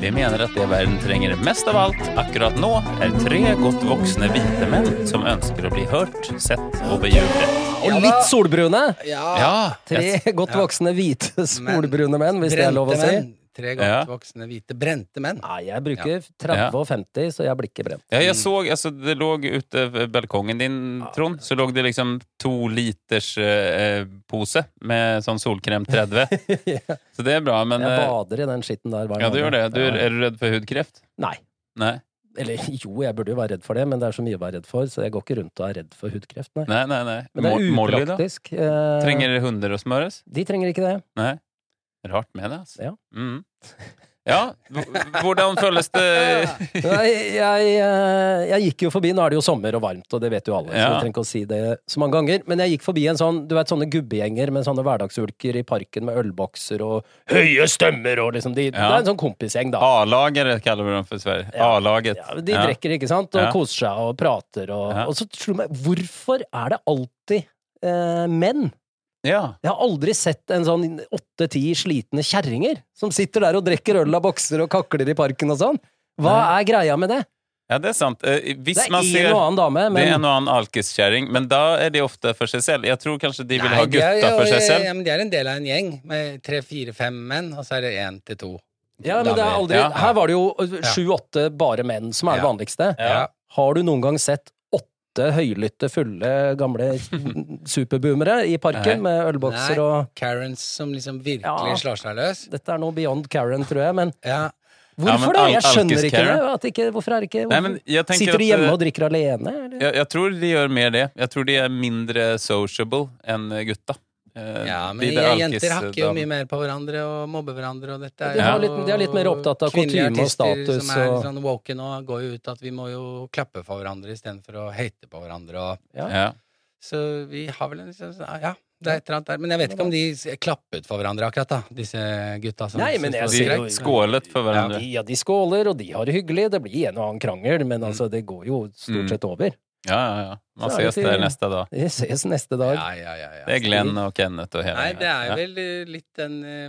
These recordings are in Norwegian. Vi mener at det verden trenger mest av alt akkurat nå, er tre godt voksne hvite menn som ønsker å bli hørt, sett og bejulet. Og litt solbrune! Ja. Ja! Tre godt voksne hvite solbrune menn, hvis det er lov å si. menn. Tre godt Ja. voksne hvite brente menn. Nei, jeg bruker 30 og 50, så jeg blir ikke brent. Ja, jeg så, altså det lå ute ved balkongen din, Trond, så lå det liksom to liters eh, pose med sånn solkrem 30. Så det er bra, men Jeg eh, bader i den skitten der hver Ja, du gjør dag. det. Du, er du redd for hudkreft? Nei. Nei. Eller jo, jeg burde jo være redd for det, men det er så mye å være redd for, så jeg går ikke rundt og er redd for hudkreft, nei. Nei, nei, nei. Men det Mo- er Molly, da? upraktisk. Eh, Trenger hunder å smøres? De trenger ikke det. Nei. Rart med det, altså. Ja. Mm. Ja, h- hvordan føles det Nei, jeg, eh, jeg gikk jo forbi, nå er det jo sommer og varmt, og det vet jo alle, så Ja. jeg trenger ikke å si det så mange ganger, men jeg gikk forbi en sånn, du vet, sånne gubbegjenger med sånne hverdagsulker i parken med ølbokser og høye stemmer og liksom, de, det Ja. er en sånn kompisgjeng da. A-lagere kaller vi dem for i Sverige. Ja. A-laget. Ja, de Ja. drikker, ikke sant, og Ja. koser seg og prater, og, Ja. og så tror jeg, meg, hvorfor er det alltid eh, menn? Ja. Jeg har aldri sett en sånn åtte-ti slitne kjerringer som sitter der og drikker øl av bokser og kakler i parken og sånn. Hva er greia med det? ja, det er sant. Eh, Hvis Det er man ser en og annen dame, Det er men en og annen alkiskjerring, men da er de ofte for seg selv. Jeg tror kanskje de vil ha de er- eh, gutta for seg Ja, selv. men de er en del av en gjeng med tre, fire, fem menn, og så er det én til to. ja, men det er aldri, Ja. Her var det jo øh, sju-åtte bare menn som er det Ja. vanligste. Ja. Har du noen gang sett åtte høylytte, fulle, gamle superboomere i parken Nei. med ølbokser Nei. og Karens som liksom virkelig Ja. slår seg løs. Dette er noe beyond Karen, tror jeg, men Ja. Ja, men hvorfor det? Jeg al- skjønner ikke det. alkis-Karen. At ikke, hvorfor er det ikke Nei, men jeg tenker Sitter at, de hjemme eh, og drikker alene? Eller? Jeg, jeg tror de gjør mer det. Jeg tror de er mindre sociable enn gutta. Eh, ja, de men der jeg, jenter alkis- hakker jo dam- mye mer på hverandre og mobber hverandre, og dette er De har jo litt- de er litt mer opptatt av kutyme kvinnelige og artister status Som er og- litt sånn woke nå, går jo ut at vi må jo klappe for hverandre istedenfor å hate på hverandre og Ja. Så vi har vel en liksom sånn- Ja, det er et eller annet der. Men jeg vet ikke om de s- klappet for hverandre akkurat, da, disse gutta som Nei, men jeg synes det De ser var jo- greit. skålet for De, hverandre. ja, de skåler, og de har det hyggelig. Det blir en og annen krangel, men altså, det går jo Mm. stort sett over. Ja, ja, ja. Man Så er det ses der til- neste dag. Vi ses neste dag. Ja, ja, ja, ja. Det er Glenn og Kenneth og hele Nei, det er gjengen. vel eh, litt den eh,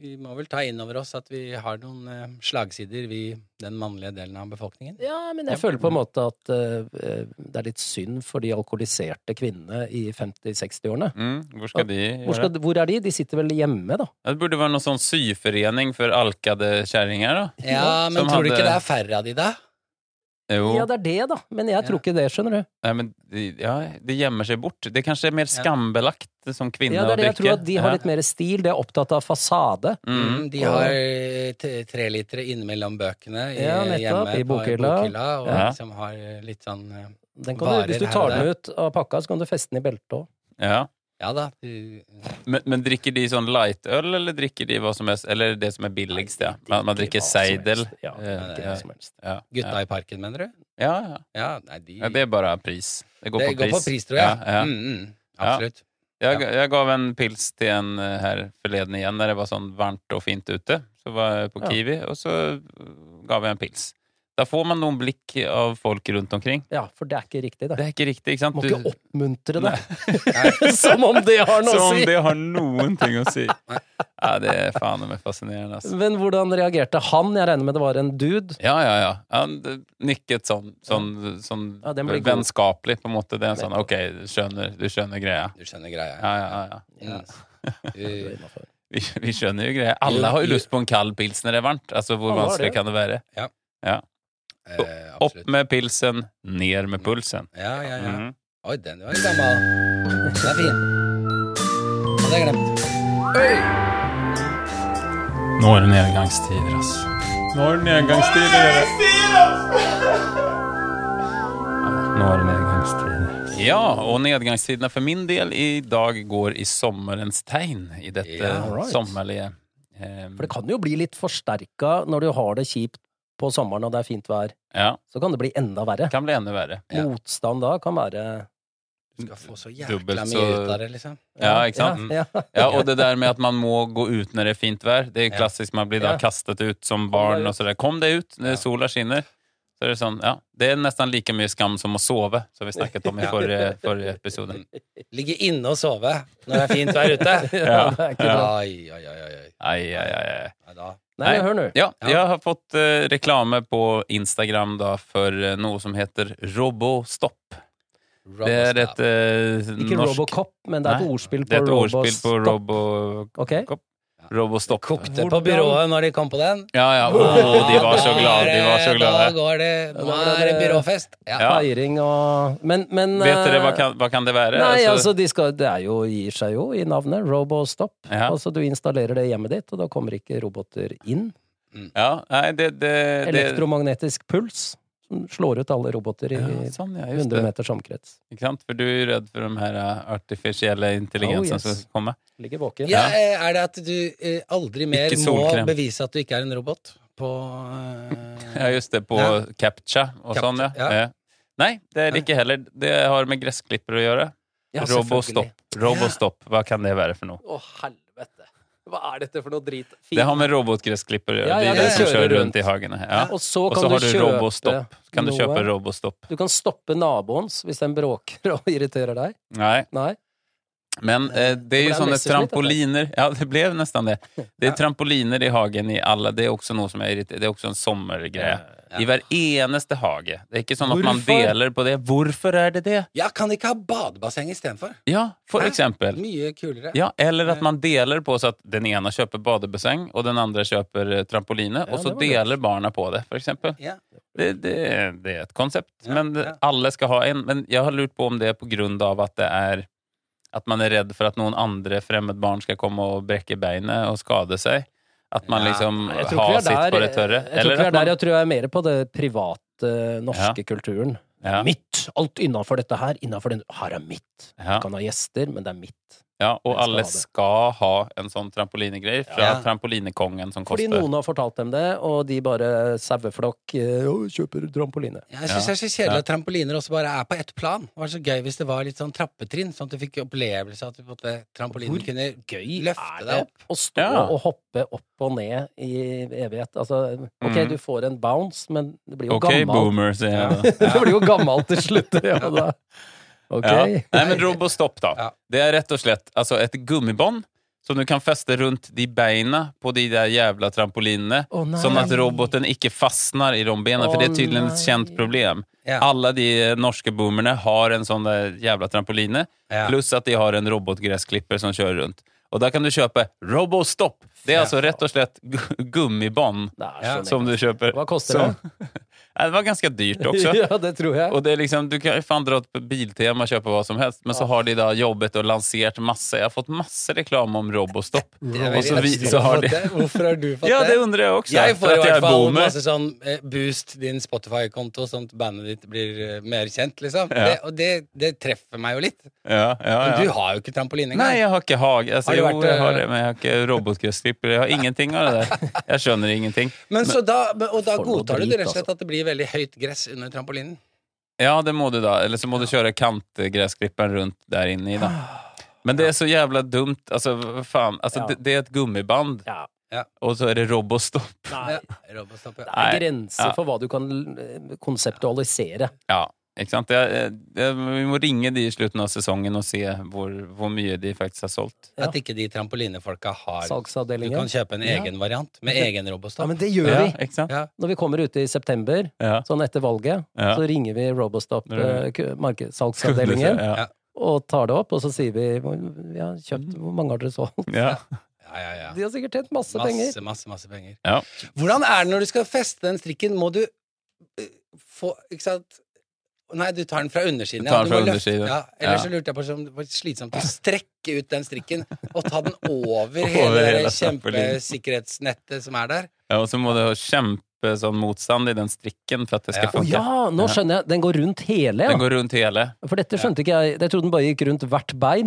Vi må vel ta inn over oss at vi har noen eh, slagsider, vi, den mannlige delen av befolkningen. Ja, men jeg føler på en måte at eh, eh, det er litt synd for de alkoholiserte kvinnene i 50-60-årene. ja. mm, Hvor skal de Hvor, gjøre skal- det? hvor er de? De sitter vel hjemme, da? Det burde være noen sånn syforening for alkade kjerringer, da. Ja, men Som tror du hadde- ikke det er færre av de, da? Jo. Ja, det er det, da. Men jeg tror ikke det, skjønner du. Nei, men de, ja, de gjemmer seg bort. Det kanskje er mer skambelagt som kvinne Ja, det å er det jeg tror drikke. at de har litt mer stil. De er opptatt av fasade. Mm. Mm, de har eh, t- trelitere innimellom bøkene i, Ja, nettopp, hjemme i på- bokhylla. og Ja. liksom har eh, litt sånn eh, Den kan Varer du, hvis du her tar og den ut av pakka, så kan du feste den i beltet òg. Ja. Ja da. de- Men, men drikker de sånn lightøl, eller drikker de hva som helst? Eller det som er billigst, ja. Man, man drikker seidel. Ja, Eh, ikke hva ja, som helst. ja, Gutta i parken, mener du? Ja, ja. Ja, nei, de ja, det er bare pris. Det går, det på, går pris. på pris, tror jeg. Ja, ja. Mm, mm, Ja. absolutt. Jeg, jeg gav en pils til en eh, her forleden igjen, når det var sånn varmt og fint ute. Så var jeg på Ja. Kiwi, og så eh, gav jeg en pils. Da får man noen blikk av folk rundt omkring. Ja, for det er ikke riktig, det. Det er ikke riktig, ikke sant? Må Du- ikke oppmuntre det. Som om det har noe Som å om si! det har noen ting å si! Ja, det er faen meg fascinerende, altså. Men hvordan reagerte han? Jeg regner med det var en dude. Ja, ja, ja. Han eh, nikket sånn, sånn, sånn Ja, den blir god. vennskapelig, på en måte. Det er sånn OK, du skjønner, du skjønner greia. Du skjønner greia. Ja, ja, ja. ja. Mm. Du- Vi, vi skjønner jo greia. Alle har jo lyst på en kald pils når det er varmt. Altså, hvor Alle har vanskelig det. kan det være? Ja. Ja. Eh, Opp absolutt. med pilsen, ner med pulsen. Ja, ja, ja. Mhm. Oi, den var gammel. Den er fin. Hadde jeg glemt. Nå er det nedgangstider, ass. Nå er det nedgangstider. Nå er det nedgangstider. Ja, og nedgangstidene for min del i dag går i sommerens tegn i dette Ja, all right. sommerlige eh, For det kan jo bli litt forsterka når du har det kjipt på sommeren og det er fint vær. Ja, Så kan det bli enda verre. kan bli enda verre. Ja. Motstand da kan være Du skal få så Dubbelt jækla mye så- ut av det, liksom. Ja, ikke sant? Ja, ja. Ja, og det der med at man må gå ut når det er fint vær, det er Ja. klassisk. Man blir da Ja. kastet ut som deg barn ut. og sådär. Kom deg ut når Ja. sola skinner. Så er det sånn, ja. Det er nesten like mye skam som å sove, som vi snakket om i Ja. forrige, forrige episode. Ligge inne og sove når det er fint vær ute. Ja, det er ikke bra. Oi, oi, oi, oi. Ai, ai, ai, ai. Nei da. Nei, men hør nå. Ja, Ja. jeg har fått eh, reklame på Instagram da, for eh, noe som heter Robostopp. Det er et eh, Ikke norsk Robocop, men det er et Nei, ordspill på Det er et ordspill Robostopp. på Robo... Ok. Robostopp. Kokte på byrået når de kom på den. Ja, ja. Å, de var så glade! De var så Da glade. går det Nå er det byråfest. Ja. Ja. Feiring og Men, men Vet dere hva eh, kan, hva kan det være? Nei, altså, de skal, det er jo, gir seg jo i navnet. Robostop. Ja. Altså, du installerer det i hjemmet ditt, og da kommer ikke roboter inn. ja, nei, det, det, det Elektromagnetisk puls som slår ut alle roboter i ja, Sånn, ja. Just 100 det. meters omkrets. Ikke sant? For du er jo redd for de her eh, artifisielle Oh, intelligensene yes. som skal komme. Ligger våken. Ja, eh, er det at du eh, aldri mer Ikke må solkrem. bevise at du ikke er en robot på eh, Ja, just det. På Ja. CAPTCHA og Captcha, sånn, ja. ja. Eh, Nei, det er det ikke heller. Det har med gressklippere å gjøre. Ja, selvfølgelig. Robostopp. Robostopp. Hva kan det være for noe? Å, helvete. Hva er dette for noe drit? Det har med robotgressklipper å gjøre. Ja, ja, de der det som kjører kjører rundt rundt. i hagene. Ja. Og så Og kan så har du du kjøpe Robostopp. Kan du noe. kjøpe Robostopp? Du kan stoppe naboens hvis den bråker og irriterer deg. Nei. Nei. Men eh, det er Det ju ble sånne Messerschmitt, trampoliner. Ja, det blev nästan det. Det är trampoliner i hagen i alla. Det är också något som är irriterande. Det är också en sommergrej. I hver eneste hage. Det er ikke sånn at man Hvorfor? deler på det. Hvorfor er det det? Ja, kan de ikke ha badebasseng istedenfor? Ja, for Hæ? eksempel. Mye kulere. Ja, eller Eh. at man deler på så at den ene kjøper badebasseng, og den andre kjøper eh, trampoline, Ja, og så det var lurt. deler barna på det, for eksempel. Ja. Det, det, det er et konsept. Ja, men ja. alle skal ha en. Men jeg har lurt på om det er på grunn av at det er At man er redd for at noen andre fremmedbarn skal komme og brekke beinet og skade seg. At man Ja, liksom Nei, jeg tror har ikke vi sitt er på der. det tørre. Jeg tror ikke vi at er der. man, Jeg tror jeg er mer på det private eh, norske kulturen. Ja. Mitt! Alt innafor dette her. Innenfor den Her er mitt. ja, Du kan ha gjester, men det er mitt. ja, Jeg og skal alle ha det. skal ha en sånn trampolinegreie fra Ja. trampolinekongen som Fordi koster noen har fortalt dem det, og de bare saueflokk eh, «Å, kjøper trampoline. Jeg syns det er så kjedelig at trampoliner også bare er på ett plan. Det var så gøy hvis det var litt sånn trappetrinn, sånn at du fikk opplevelse av at du på en måte, trampolinen Hvor kunne Gøy løfte deg opp. Å stå Ja. og hoppe opp og ned i evighet. Altså, ok, Mhm. du får en bounce, men det blir jo Ok, gammalt. boomer, sier jeg da. det blir jo gammalt til slutt. Ja, da. Ok. Ja. Nei, men Robostopp, da. Ja. Det er rett og slett altså et gummibånd som du kan feste rundt de beina på de der jævla trampolinene. Å, nei. Sånn at roboten ikke fastnar i de benen, for Åh, det er tydelig et nei. kjent problem. Ja. Alle de eh, norske boomerne har en sånn der jævla trampoline, Ja. pluss at de har en robotgressklipper som kjører rundt. Og da kan du kjøpe Robostopp! Det er Ja. altså rett og slett gu- gummibånd Det er Ja, så som du kjøper. Hva koster Som- det? Nei, det var ganske dyrt også. Ja, det tror jeg. Og det er liksom, Du kan jo faen dra til Biltema og kjøpe hva som helst, men så har de da jobbet og lansert masse Jeg har fått masse reklame om Robostopp. Det er Og så, veldig vi, rart. så har de Hvorfor har du fått det? Hvorfor har du fått Ja, det undrer jeg også. Jeg får for i at jeg hvert er fall boomer. masse sånn eh, boost din Spotify-konto, sånn at bandet ditt blir eh, mer kjent, liksom. Ja. Det, og det, det treffer meg jo litt. Ja, ja, Men ja. du har jo ikke trampoline Nei, engang. jeg har ikke hage. Altså, Har du jo, vært, jeg har eh, det, men jeg har ikke robotgressklipper. Jeg har ingenting av det der. Jeg skjønner ingenting. men, så da, men- og da For noe godtar du det drit, rett og slett altså? at det blir veldig høyt gress under trampolinen. Ja, det må du da. Eller så må du kjøre kantgressklipperen rundt der inne i, da. Men det er så jævla dumt. Altså, hva faen. Altså, Ja. det, det er et gummiband, Ja. og så er det Robostopp. Nei. Ja, Robostopp, ja. Det Nei. er grenser for hva du kan eh, konseptualisere. Ja, ikke sant? Det, det, vi må ringe de i slutten av sesongen og se hvor, hvor mye de faktisk har solgt. Ja. At ikke de trampolinefolka har Du kan Salgsavdelingen. kjøpe en egen variant med egen Ja, robostopp. men det gjør Ja, vi! ikke sant? Ja. Når vi kommer ute i september, Ja. sånn etter valget, Ja. så ringer vi Robostop Når du- eh, ku- marked- salgsavdelingen Ja. og tar det opp, og så sier vi "Hvor- vi har kjøpt, hvor mange har dere solgt? Mm. Ja. Ja, ja, ja. De har sikkert tjent masse penger. Masse, masse, masse penger. Ja. Hvordan er det når du skal feste den strikken? Må du eh, få Ikke sant? Nei, du tar den fra undersiden. Du tar den ja. fra må løfte- undersiden. Ja, Eller Ja. så lurte jeg på om det var slitsomt å strekke ut den strikken og ta den over Over hele hele det strappelinjen. kjempesikkerhetsnettet som er der. Ja, og så må du ha kjempe sånn motstand i den strikken for at det skal Ja. Å funke. ja, nå skjønner jeg. Den går rundt hele, Den ja. går rundt hele. For dette skjønte ikke jeg. Jeg trodde den bare gikk rundt hvert bein.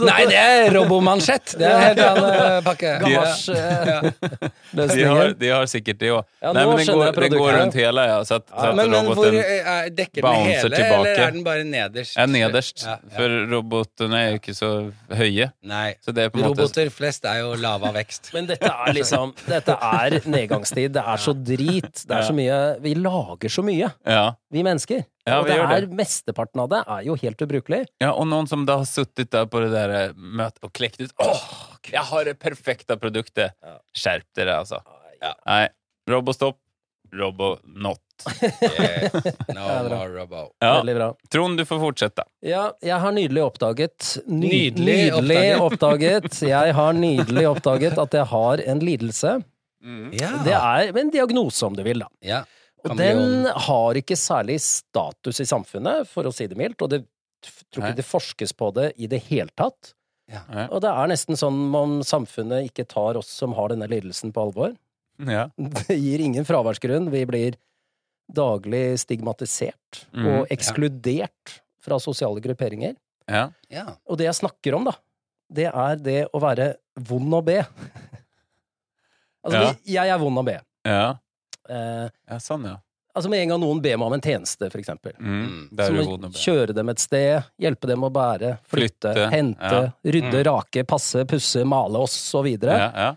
Nei, det er robomansjett! Det er en helt annen eh, pakke. Gamasj, Ja. Ja. De har, Gamasjløsningen. de har sikkert det òg. Ja, Nei, nå men den skjønner går, jeg den går produktet. rundt hele, ja. Så at, så Ja, at men, men hvor eh, roboten er dekker den bouncer hele, tilbake. eller er den bare nederst? er nederst. Ja, ja. For robotene er jo ikke så høye. Nei. Så det er på en måte Roboter flest er jo lave av vekst. Men dette er liksom Dette er nedgangstid. Det er så drit. Det er så mye Vi lager så mye, ja. vi mennesker. Ja, og vi det gjør er, mesteparten av det er jo helt ubrukelig. ja, og noen som da har sittet der på det der eh, møtet og klekt ut Åh, jeg har det perfekte produktet! Ja. Skjerp dere, altså. Nei. Robostopp. Robonot. Eh, Ja, No det er bra. more robo. Ja. Veldig bra. Trond, du får fortsette. Ja, jeg har nydelig oppdaget ny, Nydelig nydelig oppdaget Jeg har nydelig oppdaget at jeg har en lidelse. Mm. Det Ja. er en diagnose, om du vil, da. ja. Og Kameleon. den har ikke særlig status i samfunnet, for å si det mildt, og det f- tror Nei. ikke det forskes på det i det hele tatt. Nei. Og det er nesten sånn om samfunnet ikke tar oss som har denne lidelsen på alvor. Ja. Det gir ingen fraværsgrunn. Vi blir daglig stigmatisert Mhm. og ekskludert fra sosiale grupperinger. ja. Ja. Og det jeg snakker om, da, det er det å være vond å be. altså, Ja. vi- jeg er vond å be. Ja. Eh, ja. Sånn, ja. altså med en gang noen ber meg om en tjeneste, for eksempel. Mm. Så Der er må du jeg god å be. kjøre dem et sted, hjelpe dem å bære, flytte, Flytte, hente, ja. Mm. rydde, rake, passe, pusse, male oss og videre. Ja, ja.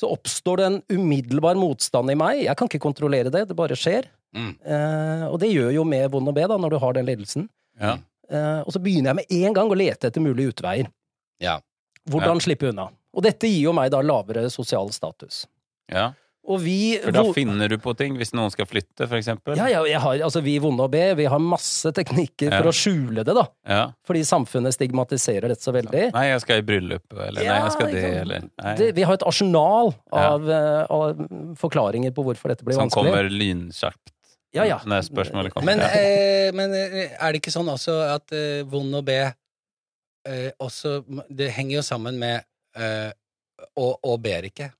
Så oppstår det en umiddelbar motstand i meg. Jeg kan ikke kontrollere det, det bare skjer. Mm. Eh, og det gjør jo med vond å be, da, når du har den ledelsen. Ja. Eh, og så begynner jeg med en gang å lete etter mulige utveier. Ja. Hvordan slippe unna. Og dette gir jo meg da lavere sosial status. ja. Og vi For da vo- finner du på ting hvis noen skal flytte, for eksempel. ja, ja, jeg har, altså Vi vonde å be, vi har masse teknikker Ja. for å skjule det, da. Ja. Fordi samfunnet stigmatiserer dette så veldig. Nei, jeg skal i bryllup, eller nei, Ja, jeg skal det, ikke sant. eller nei. Det, vi har et arsenal Ja. av, eh, av forklaringer på hvorfor dette blir Som vanskelig. kommer lynsjarpt Ja, ja. når spørsmålet kommer. Men, Ja. eh, men eh, er det ikke sånn også at eh, vond å be eh, også Det henger jo sammen med eh, og, og ber ikke.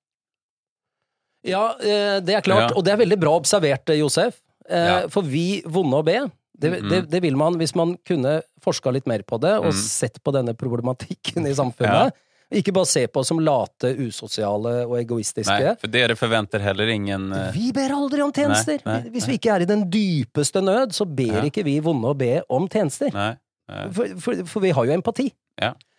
Ja, eh, det er klart. Ja. Og det er veldig bra observert, eh, Josef. Eh, Ja. For vi vonde å be, det, Mhm. det, det vil man hvis man kunne forska litt mer på det, og Mhm. sett på denne problematikken i samfunnet. Ikke bare se på oss som late, usosiale og egoistiske. Nei, for dere forventer heller ingen eh, Vi ber aldri om tjenester! Nei, nei, Hvis vi ikke er i den dypeste nød, så ber Ja. ikke vi vonde å be om tjenester. Nei. nei. For, for, for vi har jo empati.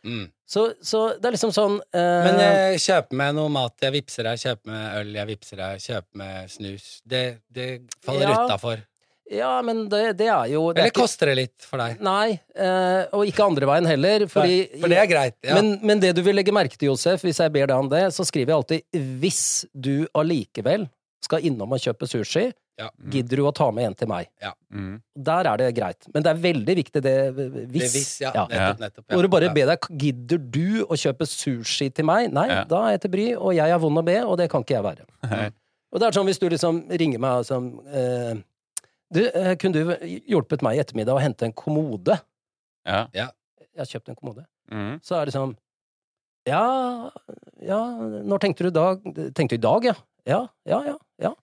Mm. Så, så det er liksom sånn eh, Men eh, kjøp meg noe mat jeg vipser deg, kjøp meg øl jeg vipser deg, kjøp meg snus Det, det faller Ja. utafor. Ja, men det, det er jo det er Eller ikke, koster det litt for deg? Nei, eh, og ikke andre veien heller, fordi Nei, for det er greit. Ja. men, men det du vil legge merke til, Josef, hvis jeg ber deg om det, så skriver jeg alltid 'hvis du allikevel skal innom og kjøpe sushi, Ja. gidder du å ta med en til meg'? Mm. Der er det greit. Men det er veldig viktig, det eh, det hvis. er hvis, ja. Ja. Ja. Nettopp, nettopp. Hvor du bare ja. ber deg 'gidder du å kjøpe sushi til meg'? Nei, Ja. da er jeg til bry, og jeg er vond å be, og det kan ikke jeg være. Nei. Og det er sånn hvis du liksom ringer meg og sånn eh, Du, eh, kunne du hjulpet meg i ettermiddag å hente en kommode? Ja. Jeg har kjøpt en kommode. Mm. Så er det sånn Ja, ja Når tenkte du i dag? Tenkte du i dag, ja? Ja, ja, ja. ja.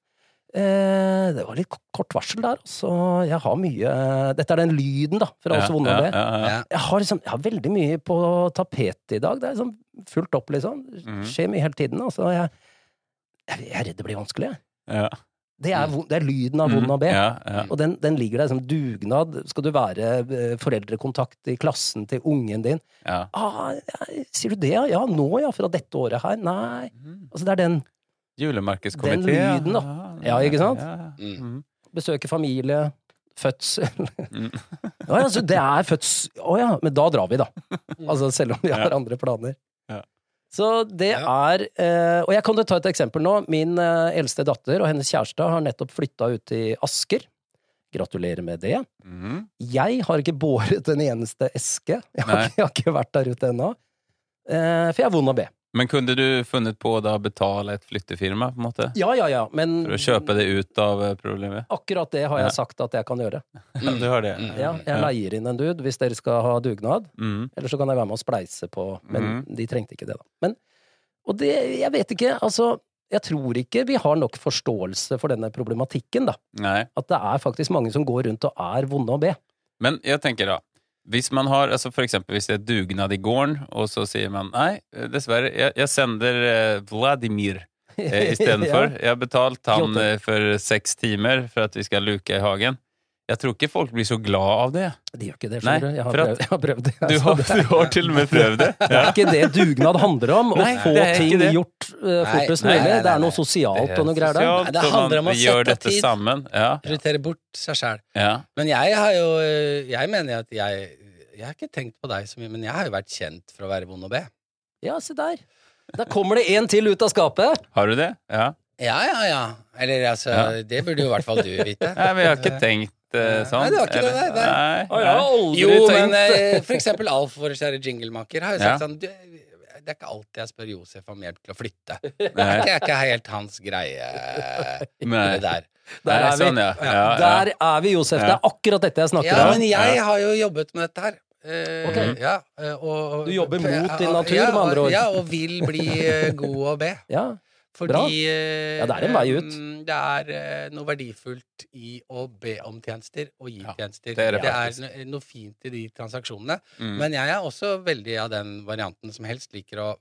Eh, det var litt k- kort varsel der, så jeg har mye Dette er den lyden, da, fra oss vonde å be. ja, ja, ja. Ja. Jeg har, liksom, jeg har veldig mye på tapetet i dag. Det er liksom fullt opp, liksom. Mhm. Det skjer mye hele tiden. Altså, jeg, jeg, jeg er redd det blir vanskelig. jeg. ja. Det er, Mhm. vo- det er lyden av vond å be. Ja, ja. Og den, den ligger der som dugnad. Skal du være eh, foreldrekontakt i klassen til ungen din? ja. Ah, ja, sier du det, ja? Ja, nå, ja. Fra dette året her? Nei. Mm. Altså, det er den. Julemarkedskomité. Den lyden, da. Ja, ikke sant? Ja. Mm. Mm. Besøke familie. Fødsel Mm. Ja, altså, det er fødsel Å ja, men da drar vi, da. Altså, selv om vi har andre planer. Mm. Ja. Så det Ja. er eh, Og jeg kan jo ta et eksempel nå. Min eh, eldste datter og hennes kjæreste har nettopp flytta ut til Asker. Gratulerer med det. Mm. Jeg har ikke båret en eneste eske. Jeg har, Nei. ikke, jeg har ikke vært der ute ennå. Eh, for jeg er vond å be. Men kunne du funnet på da å betale et flyttefirma på en måte? Ja, ja, ja, men For å kjøpe det ut av eh, problemet? akkurat det har Ja. jeg sagt at jeg kan gjøre. Ja, du har det? Mm. Ja, jeg Ja. leier inn en dude hvis dere skal ha dugnad, Mm. eller så kan jeg være med og spleise på, men Mhm. de trengte ikke det, da. Men, og det, jeg vet ikke, altså, jeg tror ikke vi har nok forståelse for denne problematikken, da. Nei. At det er faktisk mange som går rundt og er vonde å be. Men jeg tenker da hvis man har, altså for eksempel hvis det er dugnad i gården, og så sier man nei, eh, dessverre, jeg, jeg sender eh, Vladimir eh, istedenfor. Jeg har betalt han Piotr. eh, for seks timer for at vi skal luke i hagen. Jeg tror ikke folk blir så glad av det. Ja, de gjør ikke det, Nei, skjønner du. Jeg har for at- prøvd, jeg har prøvd det. Du altså. har, du har til og med prøvd det. Det er ikke det dugnad handler om, å Nei, få det er ikke ting det. gjort eh, Nei, fortest nei, mulig. nei, nei, Det er nei. noe sosialt og noe greier der. Sosialt, Nei, det og handler man om å gjør sette dette tid. sammen. Ja, Prioritere bort seg sjæl. ja. Men jeg har jo eh, Jeg mener at jeg Jeg har ikke tenkt på deg så mye, men jeg har jo vært kjent for å være vond å be. Ja, se der. Der kommer det en til ut av skapet. Har du det? Ja. Ja, ja, ja. Eller altså Ja. Det burde jo i hvert fall du vite. Nei, men jeg har ikke tenkt eh, sånn. Nei, det var ikke det, nei, nei. Nei, jeg har nei. aldri Jo, men tenkt- eh, for eksempel Alf, vår kjære jinglemaker, har jo sagt Ja. sånn du, Det er ikke alltid jeg spør Josef om hjelp til å flytte. Det Nei. er ikke, er ikke helt hans greie, eh, Nei. det der. Der Nei, er vi. Sånn, ja. Ja, ja. Der er vi, Josef. Det er akkurat dette jeg snakker Ja, om. men jeg Ja. har jo jobbet med dette her. Eh, Ok. ja, eh, og, og- Du jobber mot Ja, din og- natur, ja, med andre og- ord. Ja, og vil bli eh, god å be. Ja. Fordi Bra. eh, Ja, det er en vei ut. mm, Det er eh, noe verdifullt i å be om tjenester og gi Ja, tjenester. det er det no- noe fint i de transaksjonene. Mm. Men jeg er også veldig av den varianten som helst liker å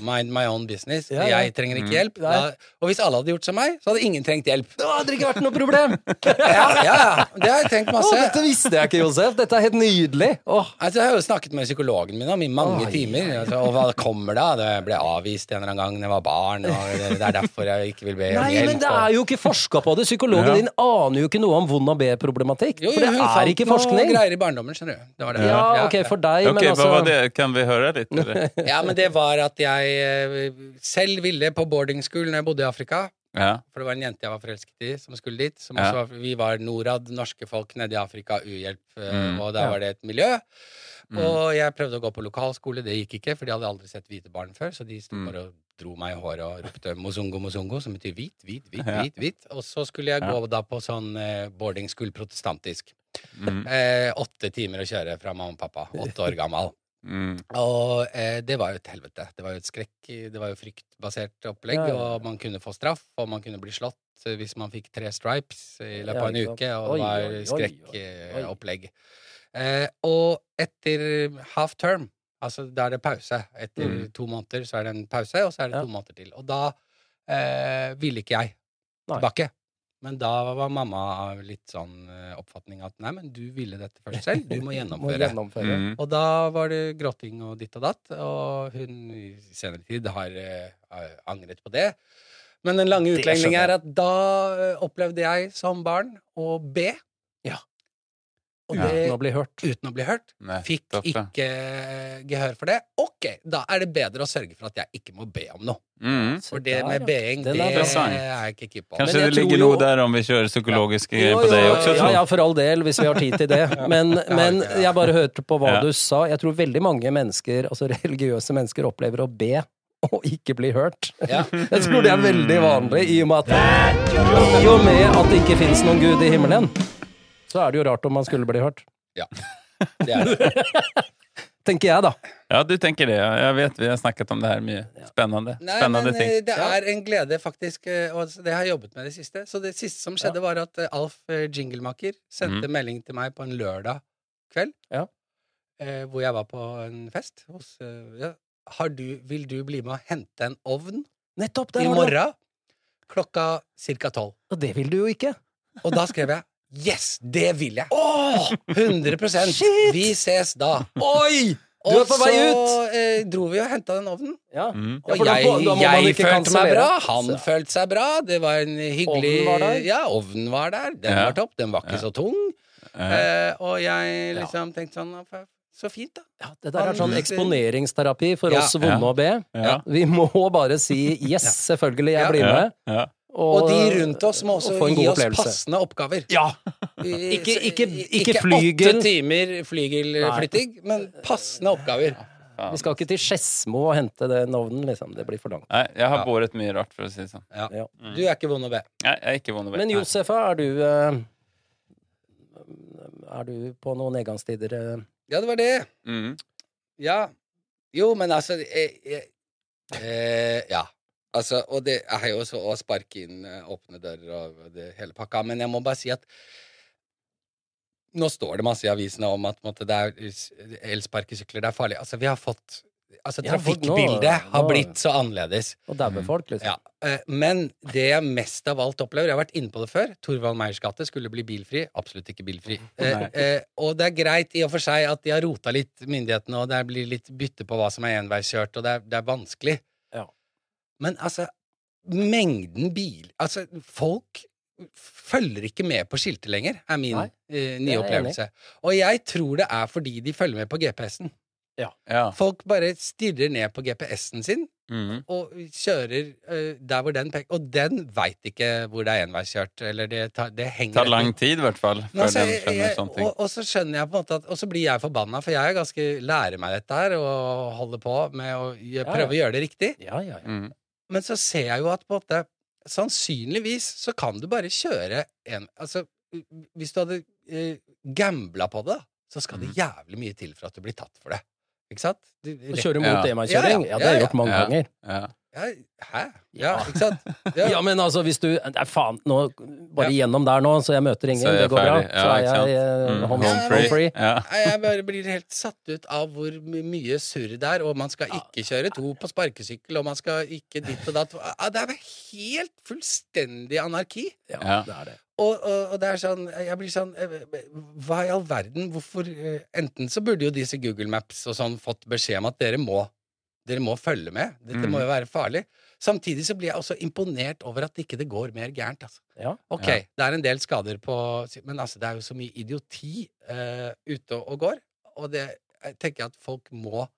mind my own business. Ja, ja. Jeg trenger Mm. ikke hjelp. Da, Nei. og hvis alle hadde gjort som meg, så hadde ingen trengt hjelp. Det hadde ikke vært noe problem! Ja, ja, ja. Det har jeg tenkt Å, masse. dette visste jeg ikke, Josef. Dette er helt nydelig. Åh, Altså, jeg har jo snakket med psykologen min om i mange Oi. timer. Altså, og hva kommer da? Det ble avvist en eller annen gang da jeg var barn. Og det det er derfor jeg ikke vil be om Nei, hjelp. men det og- er jo ikke forska på det. Psykologen Ja. din aner jo ikke noe om vond og B-problematikk. Jo, jo, For det hun er fant ikke noe forskning. greier i barndommen, skjønner du. Det var det. Ja, ok, for deg, Ok, men hva var altså det? Kan vi høre litt, eller? ja, men det var at jeg eh, selv ville på boarding school når jeg bodde i Afrika. Ja. For det var en jente jeg var forelsket i, som skulle dit. Som Ja. også var, vi var Norad, norske folk nede i Afrika, uhjelp, eh, Mm. og der Ja. var det et miljø. Mm. Og jeg prøvde å gå på lokalskole, det gikk ikke, for de hadde aldri sett hvite barn før. Så de sto Mm. bare og dro meg i håret og ropte 'mozongo, mozongo', som betyr hvit, hvit, hvit, Ja. hvit. hvit. Og så skulle jeg Ja. gå da på sånn eh, boarding school protestantisk. Mm. Eh, åtte timer å kjøre fra mamma og pappa. Åtte år gammel. Mm. Og eh, det var jo et helvete. Det var jo et skrekk, det var jo fryktbasert opplegg, Ja, ja, ja. og man kunne få straff, og man kunne bli slått eh, hvis man fikk tre stripes i løpet Eh, Ja, av en ikke sant. uke, og Oi, det oi, oi, var oi. skrekkopplegg. Eh, og etter half term, altså da er det pause. Etter Mm. to måneder så er det en pause, og så er det Ja. to måneder til. Og da eh, ville ikke jeg Nei. tilbake. Men da var mamma av litt sånn eh, oppfatning at nei, men du ville dette først selv, du må Må gjennomføre. gjennomføre. Mm. Og da var det gråting og ditt og datt, og hun i senere tid har eh, har angret på det. Men den lange Det utlegningen skjønner er at da eh, opplevde jeg som barn å be. Ja. Og Ja. det Uten å bli hørt. uten å bli hørt. Nei, Fikk topp, ja. ikke eh, gehør for det. Ok, da er det bedre å sørge for at jeg ikke må be om noe. Mm. Se For det der, med ja. being, Den det er er interessant. jeg ikke keen på. Men Kanskje jeg det ligger tror noe jo- der om vi kjører psykologiske Jo, greier jo, på deg også. jo, Trond. Ja, ja, for all del, hvis vi har tid til det. Men, Ja, men ja. jeg bare hørte på hva Ja. du sa. Jeg tror veldig mange mennesker, altså religiøse mennesker, opplever å be og ikke bli hørt. Ja. Jeg tror det er veldig vanlig, i og med at, i og med at det ikke fins noen gud i himmelen. Så er det jo rart om man skulle bli hørt. Det er det. Tenker jeg, da. Ja, du tenker det. ja. Jeg vet vi har snakket om det her mye. Spennende. Nei, Spennende men ting. eh, det er en glede, faktisk. eh, Og altså, det har jeg jobbet med i det siste. Så det siste som skjedde, var at eh, Alf eh, Jinglemaker Mhm. sendte melding til meg på en lørdag kveld. Ja. eh, Hvor jeg var på en fest hos eh, ja. Har du, Vil du bli med og hente en ovn Nettopp! i Der har du det. morgen klokka cirka tolv? Og det vil du jo ikke. Og da skrev jeg Yes! Det vil jeg! Åh, 100 Shit! Vi ses da! Oi! Du er på vei Og ut! så eh, dro vi og henta den ovnen. Ja. Mm. Ja, Og for da- jeg, da må man jeg ikke følte meg kansellere. bra, han Så- følte seg bra, det var en hyggelig Ovnen var der. Ja, ovnen var der. Den Ja. var topp, den var ikke Ja. så tung. Eh, Eh, og jeg liksom tenkte sånn "Fa- Så fint, da. Ja, det der er sånn Han- eksponeringsterapi for Ja. oss vonde Ja. å be. Ja. Vi må bare si 'yes, selvfølgelig, jeg Ja. blir Ja, med'. ja. Og de rundt oss må også og få en gi god oss opplevelse. passende oppgaver. Ja! I- Ikke- så- ikke- i- ikke flygel. åtte timer flygelflytting, men passende oppgaver. Faen. Vi skal ikke til Skedsmo og hente den ovnen, liksom. Det blir for langt. Nei, jeg har Ja. båret mye rart, for å si det sånn. Ja. Ja. Du er ikke vond å be. Nei, jeg er ikke vond å be. Men Nei. Josefa, er du eh, Er du på noen nedgangstider? eh? Ja, det var det. Mm. Ja. Jo, men altså jeg, jeg, eh, Ja. Altså, og det er jo så å sparke inn eh, åpne dører og det, hele pakka, men jeg må bare si at nå står det masse i avisene om at på en måte, det er s- elsparkesykler det er farlig. Altså, vi har fått Altså, Ja, for nå- trafikkbildet har nå- blitt så annerledes. Og daue folk, liksom? Ja, eh, Men det jeg mest av alt opplever Jeg har vært inne på det før. Torvald Meyers gate skulle bli bilfri. Absolutt ikke bilfri. Eh, eh, og det er greit i og for seg at de har rota litt, myndighetene, og det blir litt bytte på hva som er enveiskjørt, og det er, det er vanskelig. Ja. Men altså, mengden bil Altså, folk følger ikke med på skiltet lenger, er min Nei, eh, det er jeg nye enig i. opplevelse. Og jeg tror det er fordi de følger med på GPS-en. Ja. Folk bare stirrer ned på GPS-en sin, Mm. og kjører ø, der hvor den peker Og den veit ikke hvor det er enveiskjørt, eller det, tar, det Det henger tar lang tid, i hvert fall, Men før altså, den jeg, skjønner jeg, sånne ting. og, og så skjønner jeg på en måte at Og så blir jeg forbanna, for jeg er ganske lærer meg dette her og holder på med å gjø- Ja, prøve å gjøre det riktig. Ja, ja, ja. Mm. Men så ser jeg jo at på en måte Sannsynligvis så kan du bare kjøre en Altså, hvis du hadde eh, gambla på det, så skal Mm. det jævlig mye til for at du blir tatt for det. Ikke sant? Du, Å rett, Kjøre mot Ja. enveiskjøring? Ja, ja, Ja, det har jeg ja, gjort mange ja. ganger. Ja. ja, hæ? Ja, ikke sant? Ja. Ja, men altså, hvis du Nei, faen, nå Bare gjennom der nå, så jeg møter ingen, Så er det jeg går bra. ferdig. Ja, så ikke er sant? jeg eh, Mm. home, Ja, home men- free. Ja. Nei, jeg bare blir helt satt ut av hvor my- mye surr det er, og man skal ikke kjøre to på sparkesykkel, og man skal ikke ditt og datt. Ah, Det er vel helt fullstendig anarki. Ja, Ja. det er det. Og, og, og det er sånn, jeg blir sånn eh, Hva i all verden, hvorfor eh, Enten så burde jo disse Google Maps og sånn fått beskjed om at dere må Dere må følge med. Dette Mm. må jo være farlig. Samtidig så blir jeg også imponert over at ikke det går mer gærent, altså. Ja. Ok, Ja. det er en del skader på Men altså, det er jo så mye idioti eh, ute og går, og det jeg tenker jeg at folk må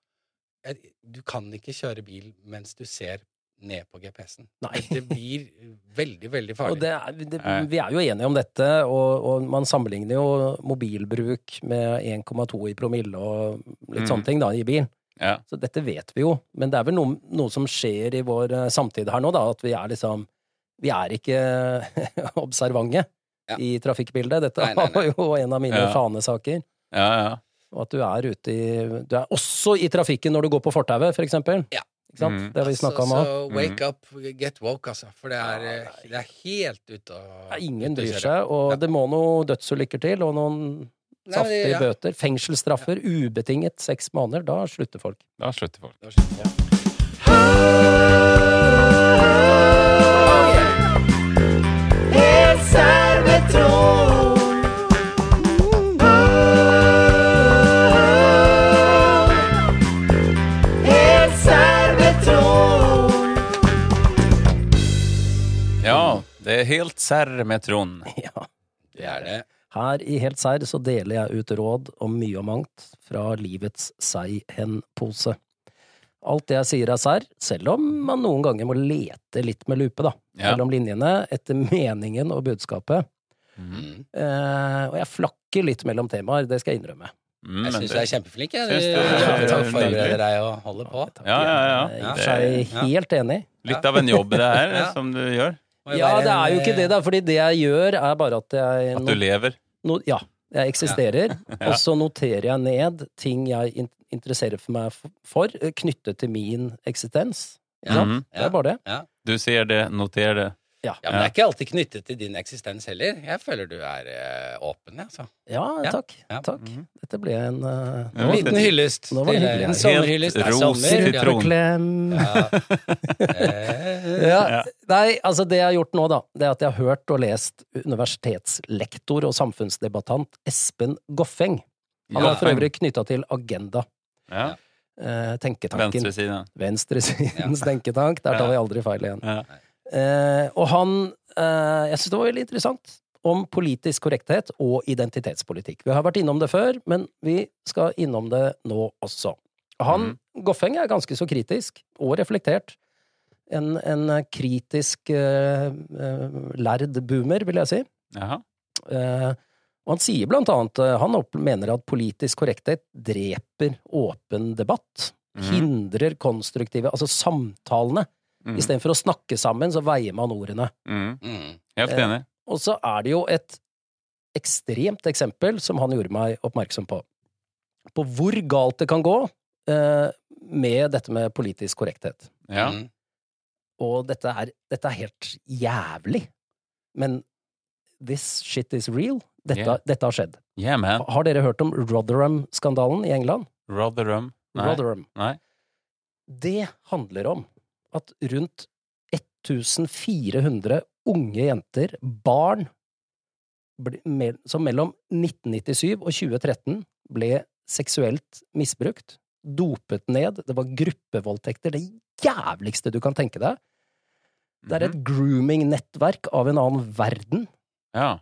jeg- Du kan ikke kjøre bil mens du ser ned på GPS-en. Nei. Det blir veldig, veldig Og farlig. det, er- det, Nei. vi er jo enige om dette, og, og man sammenligner jo mobilbruk med 1,2 i promille og litt Mm. sånne ting da, i bil. Ja. Så dette vet vi jo, men det er vel noe, noe som skjer i vår eh, samtid her nå, da, at vi er liksom Vi er ikke observante Ja. i trafikkbildet. Dette Nei, nei, nei. var jo en av mine Ja. fanesaker. Ja, ja. Og at du er ute i Du er også i trafikken når du går på fortauet, for eksempel. Ja. Ikke sant? Mm. Det har vi snakka om Mhm. òg. Altså, Så wake up, get woke, altså. For det er, Ja, eh, det er helt ute å Ingen ute å bryr kjøre. seg, og Ja. det må noen dødsulykker til, og noen Nei, men saftige det- ja. bøter. Fengselsstraffer, ubetinget seks måneder. Da slutter folk. Da slutter folk. Ja, det er helt serr med Trond. Ja. Det er det. Her i Helt serr så deler jeg ut råd om mye og mangt fra livets sei-hen-pose. Alt det jeg sier er serr, selv om man noen ganger må lete litt med lupe, da. Ja. Mellom linjene, etter meningen og budskapet. Mm. Eh, og jeg flakker litt mellom temaer, det skal jeg innrømme. Mm, Jeg men syns du det- er kjempeflink. Jeg. Syns Du, du- ja, takk for at du Nydelig. forbereder deg og holder på. Takk Ja, ja, ja. igjen. Jeg er i og for Ja. seg helt enig. Litt av en jobb det er, Ja. som du gjør. Må jo Ja, være det er jo en, ikke det, da, fordi det jeg gjør, er bare at jeg At du lever. no, Ja, jeg eksisterer, Ja. og så noterer jeg ned ting jeg in interesserer for meg f- for, eh, knyttet til min eksistens. Ikke sant? Mhm. Det er bare det. Du ser det, noter det. Ja, men det er ikke alltid knyttet til din eksistens heller. Jeg føler du er eh, åpen, jeg, altså. Ja, Ja. takk. Ja. Takk. Dette ble en eh, Det var Liten litt- hyllest. Nå var det til- hyggelig. En sommerhyllest. Helt Det er ros sommer. til Ja. Trond. Klem. Ja. Eh, Ja. Nei, altså det jeg har gjort nå, da, det er at jeg har hørt og lest universitetslektor og samfunnsdebattant Espen Goffeng. Han Ja. er for øvrig knytta til Agenda, Ja. eh, tenketanken. Venstresiden. venstresidens tenketank. Der tar vi aldri feil igjen. Ja. Eh, og han eh, Jeg syns det var veldig interessant om politisk korrekthet og identitetspolitikk. Vi har vært innom det før, men vi skal innom det nå også. Han, Goffeng, er ganske så kritisk og reflektert. En, en kritisk eh, eh, lærd boomer, vil jeg si. Jaha. Eh, og han sier blant annet eh, han opp- mener at politisk korrekthet dreper åpen debatt. Mhm. Mm-hmm. hindrer konstruktive Altså samtalene. Mm. Istedenfor å snakke sammen, så veier man ordene. Mm. Mm. Eh, Helt enig. Og så er det jo et ekstremt eksempel som han gjorde meg oppmerksom på. På hvor galt det kan gå eh, med dette med politisk korrekthet. Ja. Mm. Og dette er, dette er helt jævlig. Men this shit is real. Dette, Yeah. dette har skjedd. Yeah, man. Har dere hørt om Rotherham-skandalen i England? Rotherham. Nei. Rotherham. Nei. Det handler om at rundt 1400 unge jenter, barn, ble- me- som mellom 1997 og 2013 ble seksuelt misbrukt, dopet ned, det var gruppevoldtekter, det jævligste du kan tenke deg. Det er Mhm. et grooming-nettverk av en annen verden. Mm-hmm. Ja.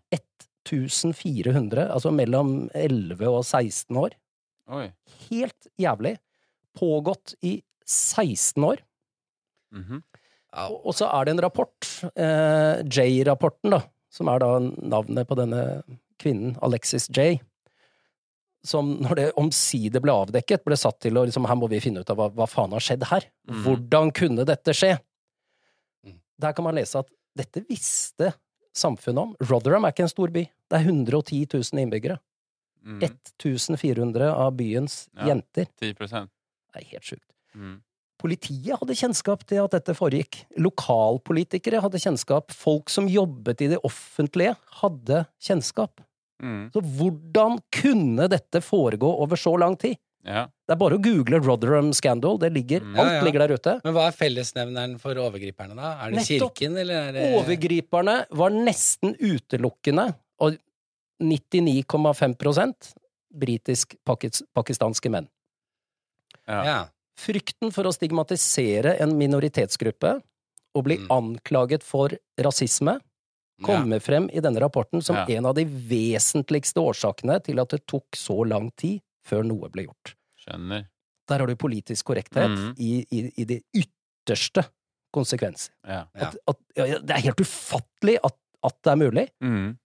1400, altså mellom 11 og 16 år. Oi. Helt jævlig. Pågått i 16 år. Mhm. Ja. Og og så er det en rapport, eh, J-rapporten, da, som er da navnet på denne kvinnen, Alexis J, som når det omsider ble avdekket, ble satt til å liksom Her må vi finne ut av hva, hva faen har skjedd her. Mhm. Hvordan kunne dette skje? Mm. Der kan man lese at dette visste samfunnet om. Rotherham er ikke en stor by. Det er 110 000 innbyggere. Mm. 1400 av byens Ja. jenter. 10 Det er helt sjukt. mm. Politiet hadde kjennskap til at dette foregikk. Lokalpolitikere hadde kjennskap. Folk som jobbet i det offentlige, hadde kjennskap. Mm. Så hvordan kunne dette foregå over så lang tid? Ja. Det er bare å google Rotherham Scandal. Det ligger, Mm. Ja, alt ja. ligger der ute. Men hva er fellesnevneren for overgriperne, da? Er det Nettopp. kirken, eller er det Overgriperne var nesten utelukkende, og 99,5 britisk-pakistanske menn. Ja. Ja. Frykten for å stigmatisere en minoritetsgruppe og bli Mm. anklaget for rasisme ja. kommer frem i denne rapporten som Ja. en av de vesentligste årsakene til at det tok så lang tid før noe ble gjort. Skjønner. Der har du politisk korrekthet Mm. Mhm. i, i, i det ytterste konsekvens. Ja. Ja. At, at, ja, ja, det er helt ufattelig at, at det er mulig, Mm.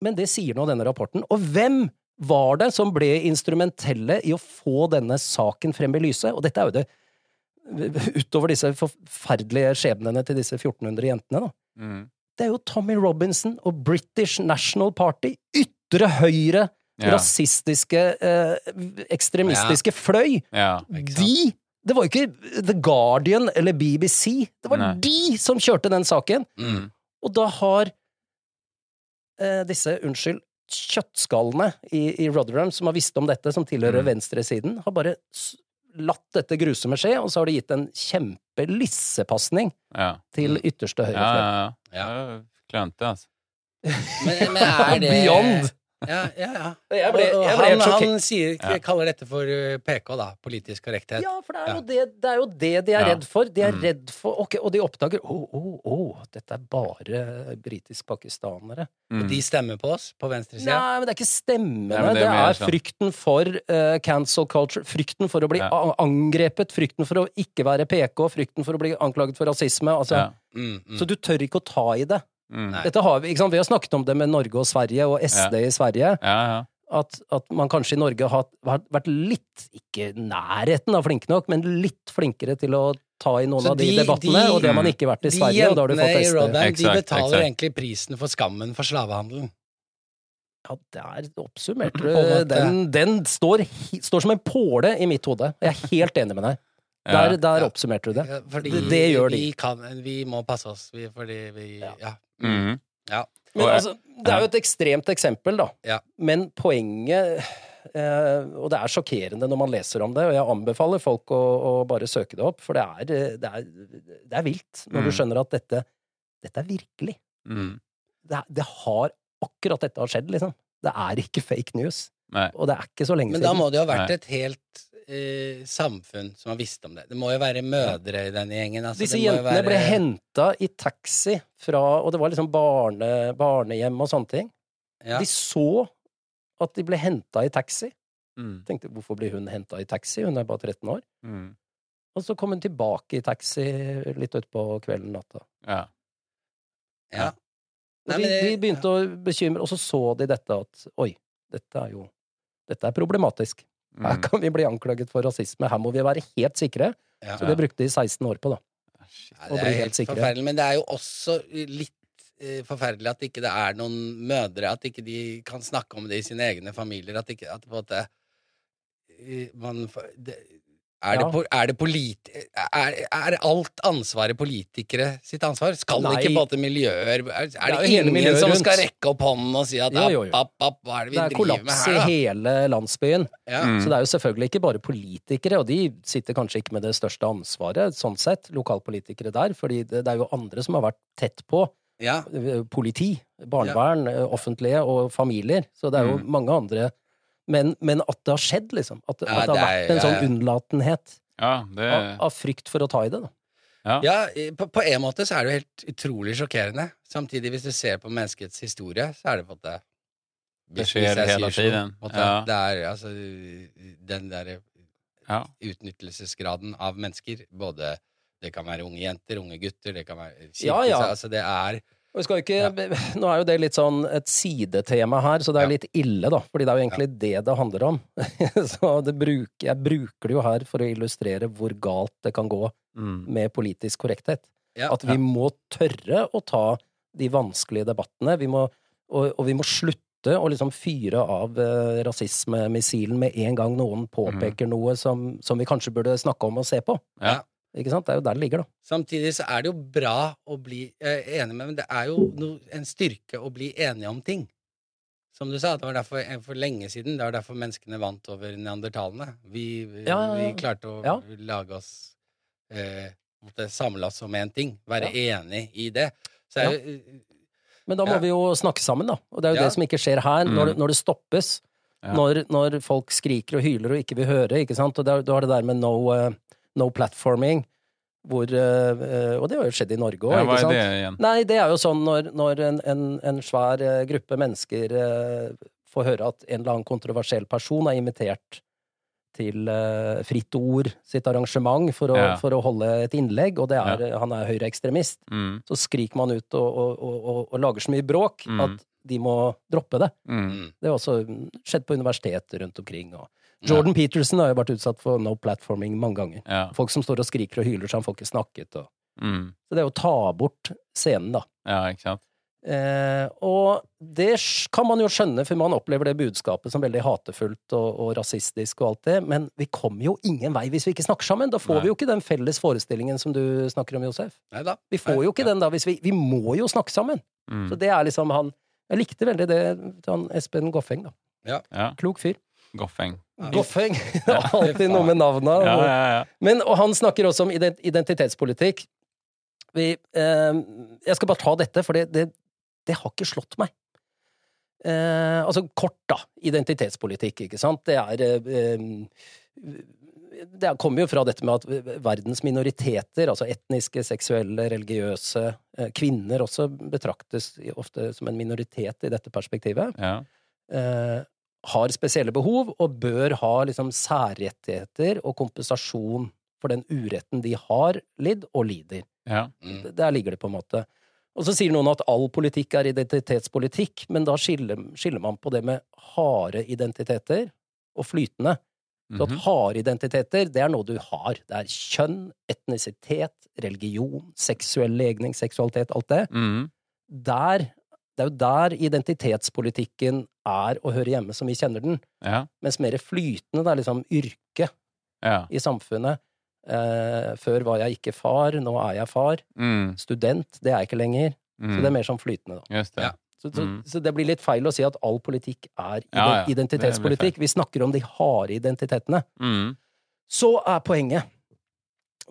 men det sier nå denne rapporten. Og hvem var det som ble instrumentelle i å få denne saken frem i lyset? Og dette er jo det Utover disse forferdelige skjebnene til disse 1400 jentene, da Mm. det er jo Tommy Robinson og British National Party, ytre høyre, Ja. rasistiske, eh, ekstremistiske fløy. ja. Ikke sant? De Det var jo ikke The Guardian eller BBC. Det var Nei. de som kjørte den saken. Mm. Og da har eh, disse, unnskyld, kjøttskallene i, i Rotherham, som har visst om dette, som tilhører Mm. venstresiden, har bare s- latt dette grusomme skje, og så har de gitt en kjempelissepasning Ja. til Mm. ytterste høyre. fløy. Ja, ja, ja. Det er Klønete, altså. Men, men er det Beyond! Ja, ja, ja. Jeg ble, Og- og jeg ble helt han, sjokkert. han sier, Ja. kaller dette for uh, PK, da. Politisk korrekthet. Ja, for det er, Ja. jo det, det er jo det de er Ja. redd for. De er Mm. redd for ok, Og de oppdager Å, å, å, dette er bare britisk-pakistanere. Mm. De stemmer på oss på venstresida. Nei, men det er ikke Nei, stemmene. men det det, er mer er sånn- frykten for eh, cancel culture. Frykten for å bli Ja. a- angrepet, frykten for å ikke være PK, frykten for å bli anklaget for rasisme. Altså, Ja. Mm, mm. Så du tør ikke å ta i det. Mm. Nei. Dette har vi, ikke sant? vi har snakket om det med Norge og Sverige, og SD i Sverige. Ja, ja. at, at man kanskje i Norge har har vært litt, ikke nærheten av flinke nok, men litt flinkere til å ta i noen Så av de, de- debattene, de- og det har man ikke vært i Sverige. og Da har du fått i SD. Rodheim, de Exakt, betaler exakt. egentlig prisen for skammen for slavehandelen. Ja, der oppsummerte På du. en måte. Den, den står, hi- står som en påle i mitt hode. Jeg er helt enig med deg. Der, Ja. der Ja. oppsummerte du det. Ja, Fordi Det- det gjør de. Vi, kan, vi må passe oss, vi, fordi vi Ja. Ja. Mm. ja. Men Og jeg- altså, det er jo et ekstremt eksempel, da. Ja. Men poenget eh, Og det er sjokkerende når man leser om det, og jeg anbefaler folk å, å bare søke det opp, for det er, eh, det er, det er vilt når Mm. du skjønner at dette, dette er virkelig. Mm. Det, er- det har Akkurat dette har skjedd, liksom. Det er ikke fake news. Nei. Og det er ikke så lenge Men da siden. må det jo ha vært Nei. et helt eh, samfunn som har visst om det. Det må jo være mødre i denne gjengen. Altså, Disse det må jo jentene være, ble henta i taxi fra Og det var liksom barne, barnehjem og sånne ting. Ja. De så at de ble henta i taxi. Mm. tenkte hvorfor blir hun henta i taxi, hun er bare 13 år. Mm. Og så kom hun tilbake i taxi litt utpå kvelden natta. Ja. Ja. Og Nei, men de, de det- begynte å bekymre, og så så de dette at oi, dette er jo Dette er problematisk. Mm. Mm-hmm. Her kan vi bli anklaget for rasisme. Her må vi være helt sikre. Ja. Så det brukte de 16 år på, da. Ja, og bli det er helt helt sikre. forferdelig. Men det er jo også litt eh, forferdelig at ikke det er noen mødre, at ikke de kan snakke om det i sine egne familier. At, ikke, at på en måte eh, man, får- det, er, det, Ja. po- er det polit... Er, er alt ansvaret politikere sitt ansvar? Skal Nei. det ikke på en måte miljøer Er, er det, jo hele ingen miljøet som rundt. skal rekke opp hånden og si at Jo, jo, jo. app, app, app, hva er det vi Det er driver med kollaps i her, da? hele landsbyen. Ja. Mm. Så det er jo selvfølgelig ikke bare politikere, og de sitter kanskje ikke med det største ansvaret, sånn sett, lokalpolitikere der, fordi det, det er jo andre som har vært tett på. Ja. eh, Politi, barnevern, eh, offentlige og familier. Så det er jo mange andre. Men, men at det har skjedd, liksom. At, Mm. Ja, at det har det er- vært en ja, ja. sånn unnlatenhet Ja, det av, av frykt for å ta i det. Da. Ja, i- på, på en måte så er det jo helt utrolig sjokkerende. Samtidig, hvis du ser på menneskets historie, så er det på en måte Det business skjer as hele usual, tiden. sånn, på en måte. Ja. Det er altså den derre ja. utnyttelsesgraden av mennesker, både det kan være unge jenter, unge gutter, det kan være kirke, Ja, ja. altså det er Og vi skal jo ikke, Nå er jo det litt sånn et sidetema her, så det er Ja. litt ille, da. Fordi det er jo egentlig det det handler om. så det bruk, jeg bruker det jo her for å illustrere hvor galt det kan gå Mm. med politisk korrekthet. ja, At vi må tørre å ta de vanskelige debattene. Vi må, og, og vi må slutte å liksom fyre av eh, rasismemissilen med en gang Mhm. noen påpeker noe som, som vi kanskje burde snakke om og se på. Ja. Ikke sant? Det er jo der det ligger, da. Samtidig så er det jo bra å bli eh, enig med, men det er jo no, en styrke å bli enige om ting. Som du sa, det var derfor eh, for lenge siden, det var derfor menneskene vant over neandertalene. Vi, eh, Ja, ja, ja. vi klarte å Ja. lage oss eh, måtte samle oss om én ting, være enig i det. Så er Ja. jo eh, Men da må Ja. vi jo snakke sammen, da. Og det er jo Ja. det som ikke skjer her, når, det- når det stoppes. Mm. Ja. Når, når folk skriker og hyler og ikke vil høre, ikke sant. Og det er- du har det der med no, eh, no platforming, hvor eh, eh, Og det har jo skjedd i Norge òg, ja, ikke hva er sant? det igjen? Nei, det er jo sånn når, når en, en, en svær eh, gruppe mennesker eh, får høre at en eller annen kontroversiell person er invitert til eh, Fritt Ord sitt arrangement for å, Ja. for å holde et innlegg, og det er, han er høyreekstremist, Mm. så skriker man ut og, og, og, og, og lager så mye bråk Mm. at de må droppe det. Mm. mm, Det har også mm, skjedd på universiteter rundt omkring. Og Jordan Peterson har jo vært utsatt for no platforming mange ganger. Ja. Folk som står og skriker og hyler så han får ikke snakket. Og. Mm. Så det er jo å ta bort scenen, da. ja, ikke sant? Eh, og det sk- kan man jo skjønne, for man opplever det budskapet som veldig hatefullt og, og rasistisk og alt det, men vi kommer jo ingen vei hvis vi ikke snakker sammen. Da får Nei. vi jo ikke den felles forestillingen som du snakker om, Josef. Nei da. Vi får jo ikke den da hvis vi Vi må jo snakke sammen! Mm. Så det er liksom han Jeg likte veldig det til han Espen Goffeng, da. Ja. Klok fyr. Goffeng. Ja. Goffeng! Det er alltid noe med navna. Ja, og- ja, ja. men, og han snakker også om ident- identitetspolitikk. Vi, eh, jeg skal bare ta dette, for det, det, det har ikke slått meg. Eh, altså kort, da. Identitetspolitikk, ikke sant. Det er eh, eh, Det er- kommer jo fra dette med at verdens minoriteter, altså etniske, seksuelle, religiøse, eh, kvinner også betraktes ofte som en minoritet i dette perspektivet ja. eh, har spesielle behov og bør ha liksom, særrettigheter og kompensasjon for den uretten de har lidd og lider. Ja. Mm. Der ligger det, på en måte. Og så sier noen at all politikk er identitetspolitikk, men da skiller, skiller man på det med harde identiteter og flytende. Så at Mhm. harde identiteter, det er noe du har. Det er kjønn, etnisitet, religion, seksuell legning, seksualitet, alt det Mhm. der, det er jo der identitetspolitikken er å høre hjemme, som vi kjenner den. Ja. Mens mer flytende, det er liksom yrke Ja. i samfunnet. Eh, før var jeg ikke far, nå er jeg far. Mm. Student, det er jeg ikke lenger. Så det Mm. er mer sånn flytende, da. Just det. Ja. Så, så, Mm. så det blir litt feil å si at all politikk er ide- Ja, ja, det blir identitetspolitikk. Vi snakker om de harde identitetene. Mm. Så er poenget,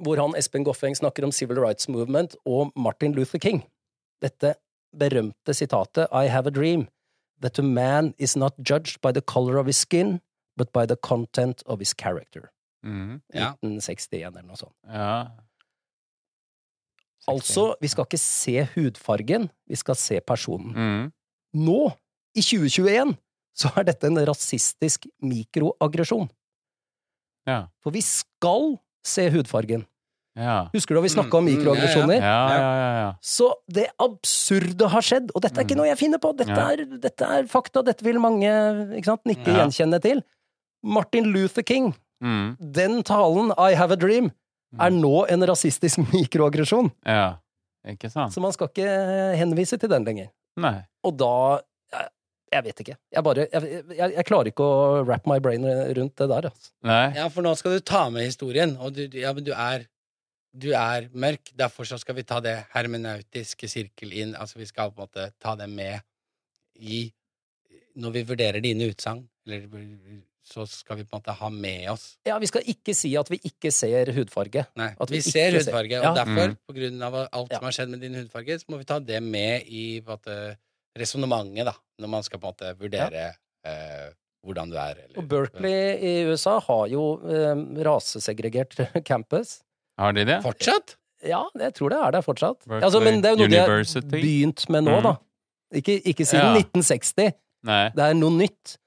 hvor han Espen Goffeng snakker om Civil Rights Movement og Martin Luther King. Dette berømte sitatet I have a dream that a man is not judged by the color of his skin, but by the content of his character. Mm. Ja. 1961 eller noe sånt. Ja. Altså, vi skal ikke se hudfargen, vi skal se personen. mm. Nå, i 2021, så er dette en rasistisk mikroaggresjon. Ja. For vi skal se hudfargen. Ja. Husker du da vi snakka om Mm, mm, ja, ja. mikroaggresjoner? Ja, ja, ja, ja. Så det absurde har skjedd, og dette er ikke Mm. noe jeg finner på, dette, Ja. er, dette er fakta, dette vil mange ikke sant, nikke Ja. gjenkjenne til. Martin Luther King, Mm. den talen, I have a dream, er nå en rasistisk mikroaggresjon. Ja. Ikke sant? Så man skal ikke henvise til den lenger. Nei. Og da Jeg, jeg vet ikke. Jeg bare jeg, jeg, jeg klarer ikke å wrap my brain rundt det der, altså. Nei. Ja, for nå skal du ta med historien, og du, ja, men du er du er mørk, derfor så skal vi ta det hermenautiske sirkel inn. Altså, vi skal på en måte ta det med i Når vi vurderer dine utsagn, eller så skal vi på en måte ha med oss Ja, vi skal ikke si at vi ikke ser hudfarge. Nei, At vi, vi ser ikke ser- hudfarge, og Ja. derfor, Mm. på grunn av alt Ja. som har skjedd med din hudfarge, så må vi ta det med i på en måte, resonnementet, da, når man skal på en måte vurdere eh, hvordan du er. Eller, Og Berkeley i USA har jo eh, rasesegregert campus. Har de det? Fortsatt? Ja, jeg tror det er der fortsatt. Berkeley Altså, men det er jo noe de har University. begynt med nå, Mm. da. Ikke, ikke siden Ja. 1960. Nei. Det er noe nytt.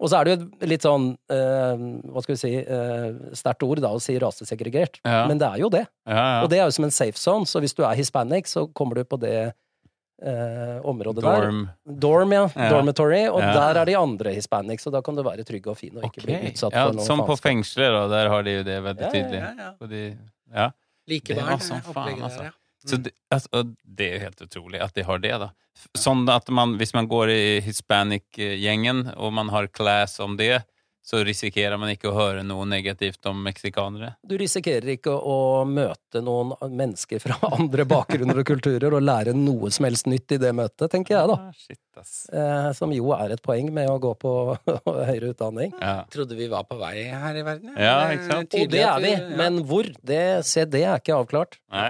Og så er det jo et litt sånn eh, Hva skal vi si eh, Sterkt ord, da, å si rasesegregert. Ja. Men det er jo det. Ja, Og ja. det er jo som en safe zone, så hvis du er hispanic, så kommer du på det eh, området Dorm. der. Dorm, ja. Ja. Dormitory. Og Ja. der er de andre hispanics, så da kan du være trygg og fin og ikke bli Ok. utsatt Ja, for noe som på faenskap. fengselet, da. Der har de jo det veldig Ja, ja, tydelig. Ja, ja. Og de, ja. Like Det var barn, som opplegget faen, altså. der, ja. Så det, altså, det er jo helt utrolig at de har det, da. Sånn at man, hvis man går i hispanic-gjengen, og man har class om det, så risikerer man ikke å høre noe negativt om meksikanere. Du risikerer ikke å møte noen mennesker fra andre bakgrunner og kulturer og lære noe som helst nytt i det møtet, tenker jeg, da. Ah, shit, ass. Eh, som jo er et poeng med å gå på høyere utdanning. Ja. Trodde vi var på vei her i verden. Ja, Det er ikke sant? Og tydelig det at er vi, ja. men hvor? Det, se, det er ikke avklart. Nei.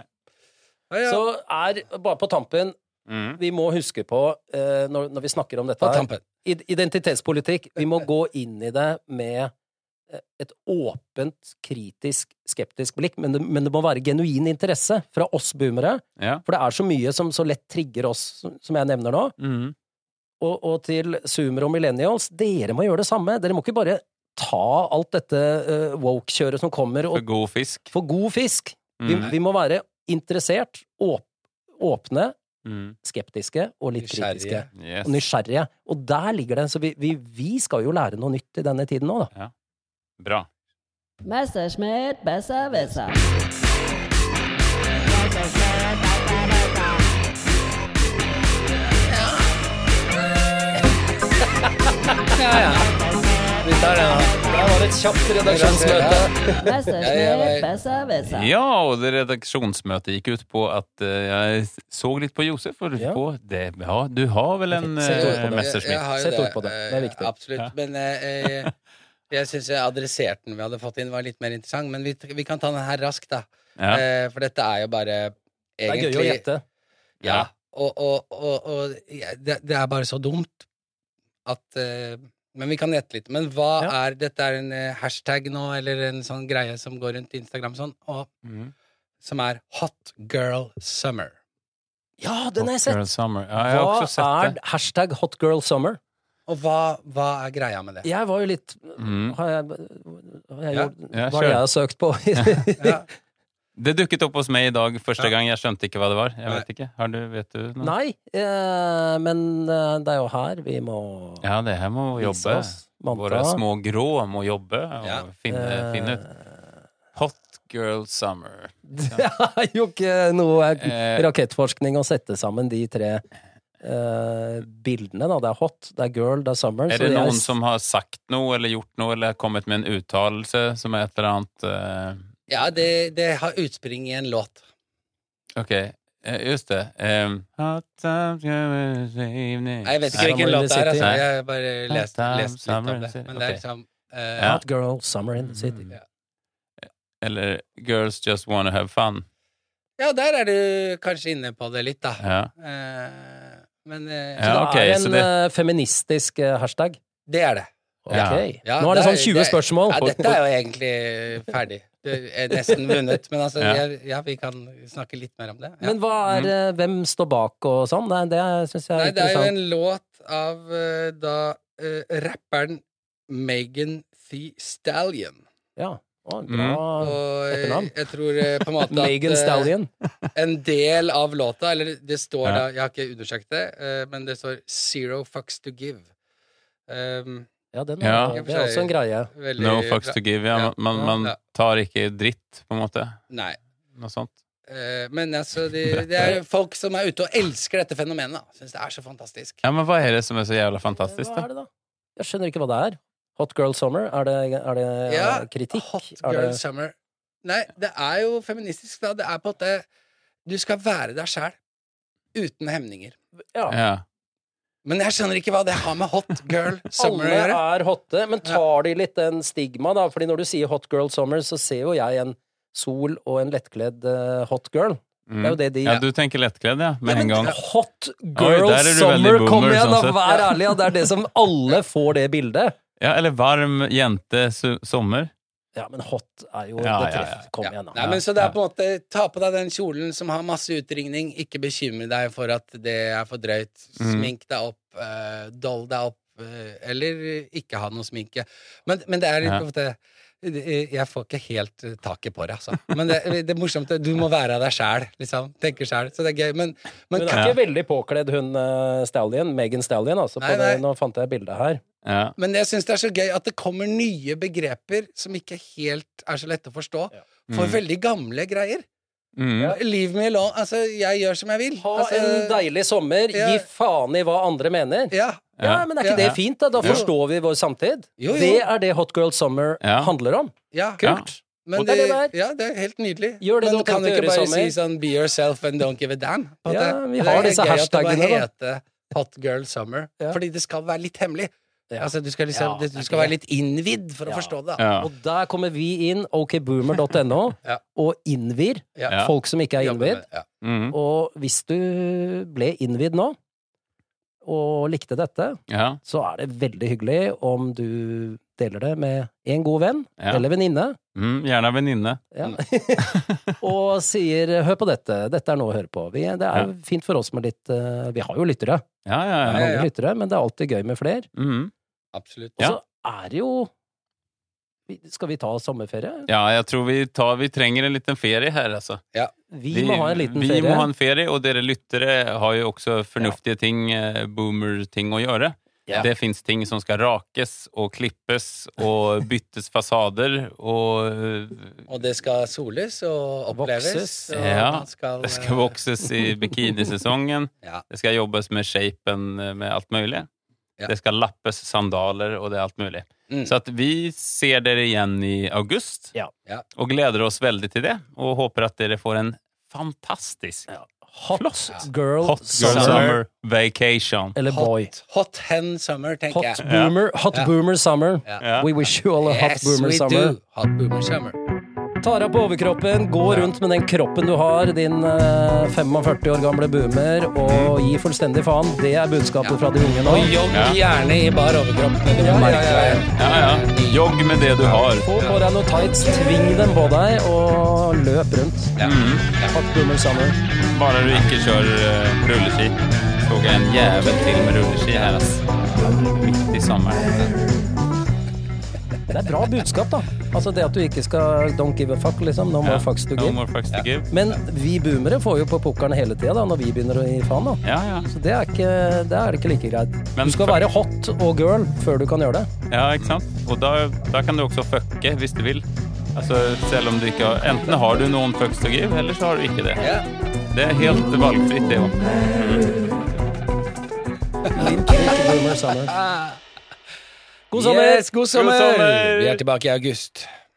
ja, ja. Så er, bare på tampen, Mm. vi må huske på, eh, når, når vi snakker om dette På her tampen. id- Identitetspolitikk, vi må gå inn i det med eh, et åpent, kritisk, skeptisk blikk, men det, men det må være genuin interesse fra oss boomere. Ja. For det er så mye som så lett trigger oss, som- som jeg nevner nå. Mm. Og, og til zoomere og millennials, dere må gjøre det samme. Dere må ikke bare ta alt dette eh, woke-kjøret som kommer, For og god fisk. få god fisk. Vi, Mm. vi må være interessert, åp åpne, Mm. skeptiske og litt Nysgjerrige. kritiske. Yes. Og nysgjerrige. Og der ligger det. Så vi, vi, vi skal jo lære noe nytt i denne tiden nå, da. Bra. Messerschmidt, besser, besser. Vi tar den, da. Det var et kjapt redaksjonsmøte. Messerschmidt, besser, besser. Ja, og det redaksjonsmøtet gikk ut på at eh, jeg så litt på Josef og lurte Ja. på det. Ja, du har vel en Fint. Sett ord på det. uh, Jeg- jeg Messerschmitt? har jo Sett ord på det. Det er viktig. eh, Absolutt. Ja. Men eh, eh, jeg syns adresserten vi hadde fått inn, var litt mer interessant. Men vi, vi kan ta den her raskt, da. Ja. Eh, for dette er jo bare Det er egentlig gøy å gjette. Ja. Og, og, og, og ja, det, det er bare så dumt at eh, Men vi kan gjette litt. Men hva Ja. er Dette er en eh, hashtag nå, eller en sånn greie som går rundt Instagram sånn, og, Mm. som er Hot Girl Summer. Ja, den har jeg Girl sett! Summer. Ja, jeg har Hva også sett er det. hashtag hotgirlsummer? Og hva, hva er greia med det? Jeg var jo litt Mm. har jeg, har jeg Ja, gjort, ja, Hva har kjør. jeg søkt på? Ja. Det dukket opp hos meg i dag første Ja. gang. Jeg skjønte ikke hva det var. Jeg vet ikke. Har du, vet du noe? Nei, eh, men eh, det er jo her vi må Ja, det her må vi vise jobbe. oss. Mandag. Våre små grå må jobbe og Ja. finne, finne ut. Eh, Hot Girl Summer. Det er Eh, jo ikke noe Eh. rakettforskning å sette sammen de tre eh, bildene, da. Det er hot, det er girl, det er summer. Er så jeg- det noen som har sagt noe eller gjort noe eller kommet med en uttalelse som er et eller annet eh, Ja, det, det har utspring i en låt. Ok, eh, just det. Um, Hot times come this evening. Nei, Jeg vet ikke Summer hvilken in låt the det er, City. altså. Jeg har bare lest, Time, lest litt uh, Summer om in det. the City. Men det er Ok. liksom eh, Ja. Hot girl, summer Mm. in the city. Ja. Eller Girls Just Wanna Have Fun. ja, der er du kanskje inne på det litt, da. Ja. Eh, men eh, Ja, Så det ok, er så en det- eh, feministisk eh, hashtag. det er det. Ok. Ja. Ja, Nå er det der- sånn 20 det- Oh. spørsmål. Ja, dette er jo egentlig ferdig. Du er nesten vunnet, men altså Ja. jeg, ja, vi kan snakke litt mer om det. Ja. Men hva Mm. er eh, Hvem står bak og sånn? Nei, det syns jeg er Nei, det er jo interessant. en låt av eh, da eh, rapperen Megan The Stallion. Ja. Å, Mm. bra. Og eh, Ah, Etternavn. jeg tror eh, på en måte at Megan eh, Stallion. en del av låta, eller det står Ja. da, jeg har ikke undersøkt det, eh, men det står 'Zero fucks to give'. Um, Ja, den er, Ja. det er også en greie. Veldig No fucks bra. to give. Ja. Ja. Man, man Ja. tar ikke dritt, på en måte. Nei. Noe sånt. Eh, Men altså, de, det er folk som er ute og elsker dette fenomenet. da. Syns det er så fantastisk. Ja, men hva er det som er så jævla fantastisk, Hva da? er det, da? Jeg skjønner ikke hva det er. Hot Girl Summer? Er det, er det Ja, Eh, kritikk? Hot Er girl det- summer. Nei, det er jo feministisk, da. Det er på at det, du skal være deg sjæl. Uten hemninger. ja. Ja. Men jeg skjønner ikke hva det har med hot girl summer å Alle gjøre. er hotte, men tar de litt den stigma, da? Fordi når du sier hot girl summer, så ser jo jeg en sol og en lettkledd eh, hot girl. Det er Mm. jo det de ja, du tenker lettkledd, ja, med Ja, en men gang. Hot girl Oi, der er du veldig summer, kom boomer, igjen, da! sånn sett. Vær ærlig! Ja, det er det som alle får det bildet. Ja, eller varm jente su sommer. Ja, men hot er jo Ja, det ja, treff. ja. Kom Ja. igjen, Nei, da. men så det er på en måte Ta på deg den kjolen som har masse utringning. Ikke bekymre deg for at det er for drøyt. Mm. Smink deg opp. eh, doll deg opp. eh, eller ikke ha noe sminke. Men, men det er litt Ja. på en måte det- jeg får ikke helt eh, taket på det, altså. Men det, det er morsomt. Du må være deg sjæl, liksom. Tenke sjæl. Så det er gøy. Men, men Hun er ikke veldig påkledd, hun eh, Stallion. Megan Stallion, altså. På Nei, nei. Det, nå fant jeg bildet her. Ja. Men jeg syns det er så gøy at det kommer nye begreper som ikke helt er så lette å forstå, for Mm. veldig gamle greier. Mm. Leave me alone. Altså, jeg gjør som jeg vil. Ha altså, en eh, deilig sommer, ja. gi faen i hva andre mener. ja. Ja, men er ikke Ja. det fint, da? Da Jo. forstår vi vår samtid. Jo, jo. Det er det Hot Girl Summer Ja. handler om. ja. Kult. Men Og det er det det- der. ja, det er helt nydelig. Gjør det Men du kan kan du ikke gjøre i bare sommer. si sånn be yourself and don't give a damn? på en Ja, måte? vi har det er disse gøy at det bare hashtagene, da. heter Hot girl summer. Ja. Fordi det skal være litt hemmelig. Ja. Altså, du skal, Ja, liksom, det er du skal ikke være litt innvidd for Ja. å forstå det. da. Ja. altså- Og der kommer vi inn, okboomer.no, Ja. og innvir Ja. folk som ikke er Jobber med innvidd. det, ja. Mm. Og hvis du ble innvidd nå, og likte dette, Ja. så er det veldig hyggelig om du deler det med en god venn Ja. eller venninne. Mm. Gjerne venninne. Mm. Ja. og sier 'hør på dette', dette er noe å høre på. Vi, det er jo fint for oss med litt eh, Vi har jo lyttere, Ja, ja, Det er ja. mange ja. lyttere, men det er alltid gøy med flere. Mm. Absolutt. Og så er det jo vi- Skal vi ta sommerferie? ja, jeg tror vi tar Vi trenger en liten ferie her, altså. Vi, må ha en liten vi ferie. må ha en ferie, og dere lyttere har jo også fornuftige ting, eh, boomer-ting å gjøre. Ja. Det fins ting som skal rakes og klippes og byttes fasader og eh, Og det skal soles og oppleves. Vokses. og Ja, man skal, det skal eh, vokses i bikinisesongen. Ja. Det skal jobbes med shapen eh, med alt mulig. Ja. Det skal lappes sandaler, og det er alt mulig. Mm. Så at vi ser dere igjen i august, Ja. Ja. og gleder oss veldig til det. Og håper at dere får en fantastisk Hot girl, hot girl summer. summer, vacation. Eller boy. Hot, hot hen summer, tenker Hot jeg. boomer, hot Ja. boomer summer. Ja. Ja. We wish you all a hot Yes, boomer we summer. do. Hot boomer summer. Tar av på overkroppen, gå rundt med den kroppen du har, din eh, 45 år gamle boomer, og gi fullstendig faen. Det er budskapet fra de unge nå. Og jogg Ja. gjerne i bar overkropp. nede på Ja, ja, Markveien. Ja, ja. Jogg med det du har. Få på deg noen tights, tving dem på deg, og løp rundt. Mm. Hot boomer summer. Bare du ikke kjører eh, rulleski. Såg jeg en jævel til med rulleski her, ass. Midt i sommeren. Det er bra budskap, da. Altså det at du ikke skal don't give a fuck, liksom. No more fucks to No give. more fucks to give. Men vi boomere får jo på pukkelen hele tida da, når vi begynner å gi faen, da. Ja, ja. Så det er ikke, det er det ikke like greit. Men du skal fuck. være hot og girl før du kan gjøre det. Ja, ikke sant? Og da, da kan du også fucke hvis du vil. Altså, selv om du ikke har Enten har du noen fucks to give, eller så har du ikke det. Ja. Det er helt valgfritt, det òg. Link, link, boomer summer. God sommer! Yes, god sommer! sommer! Vi er tilbake i august.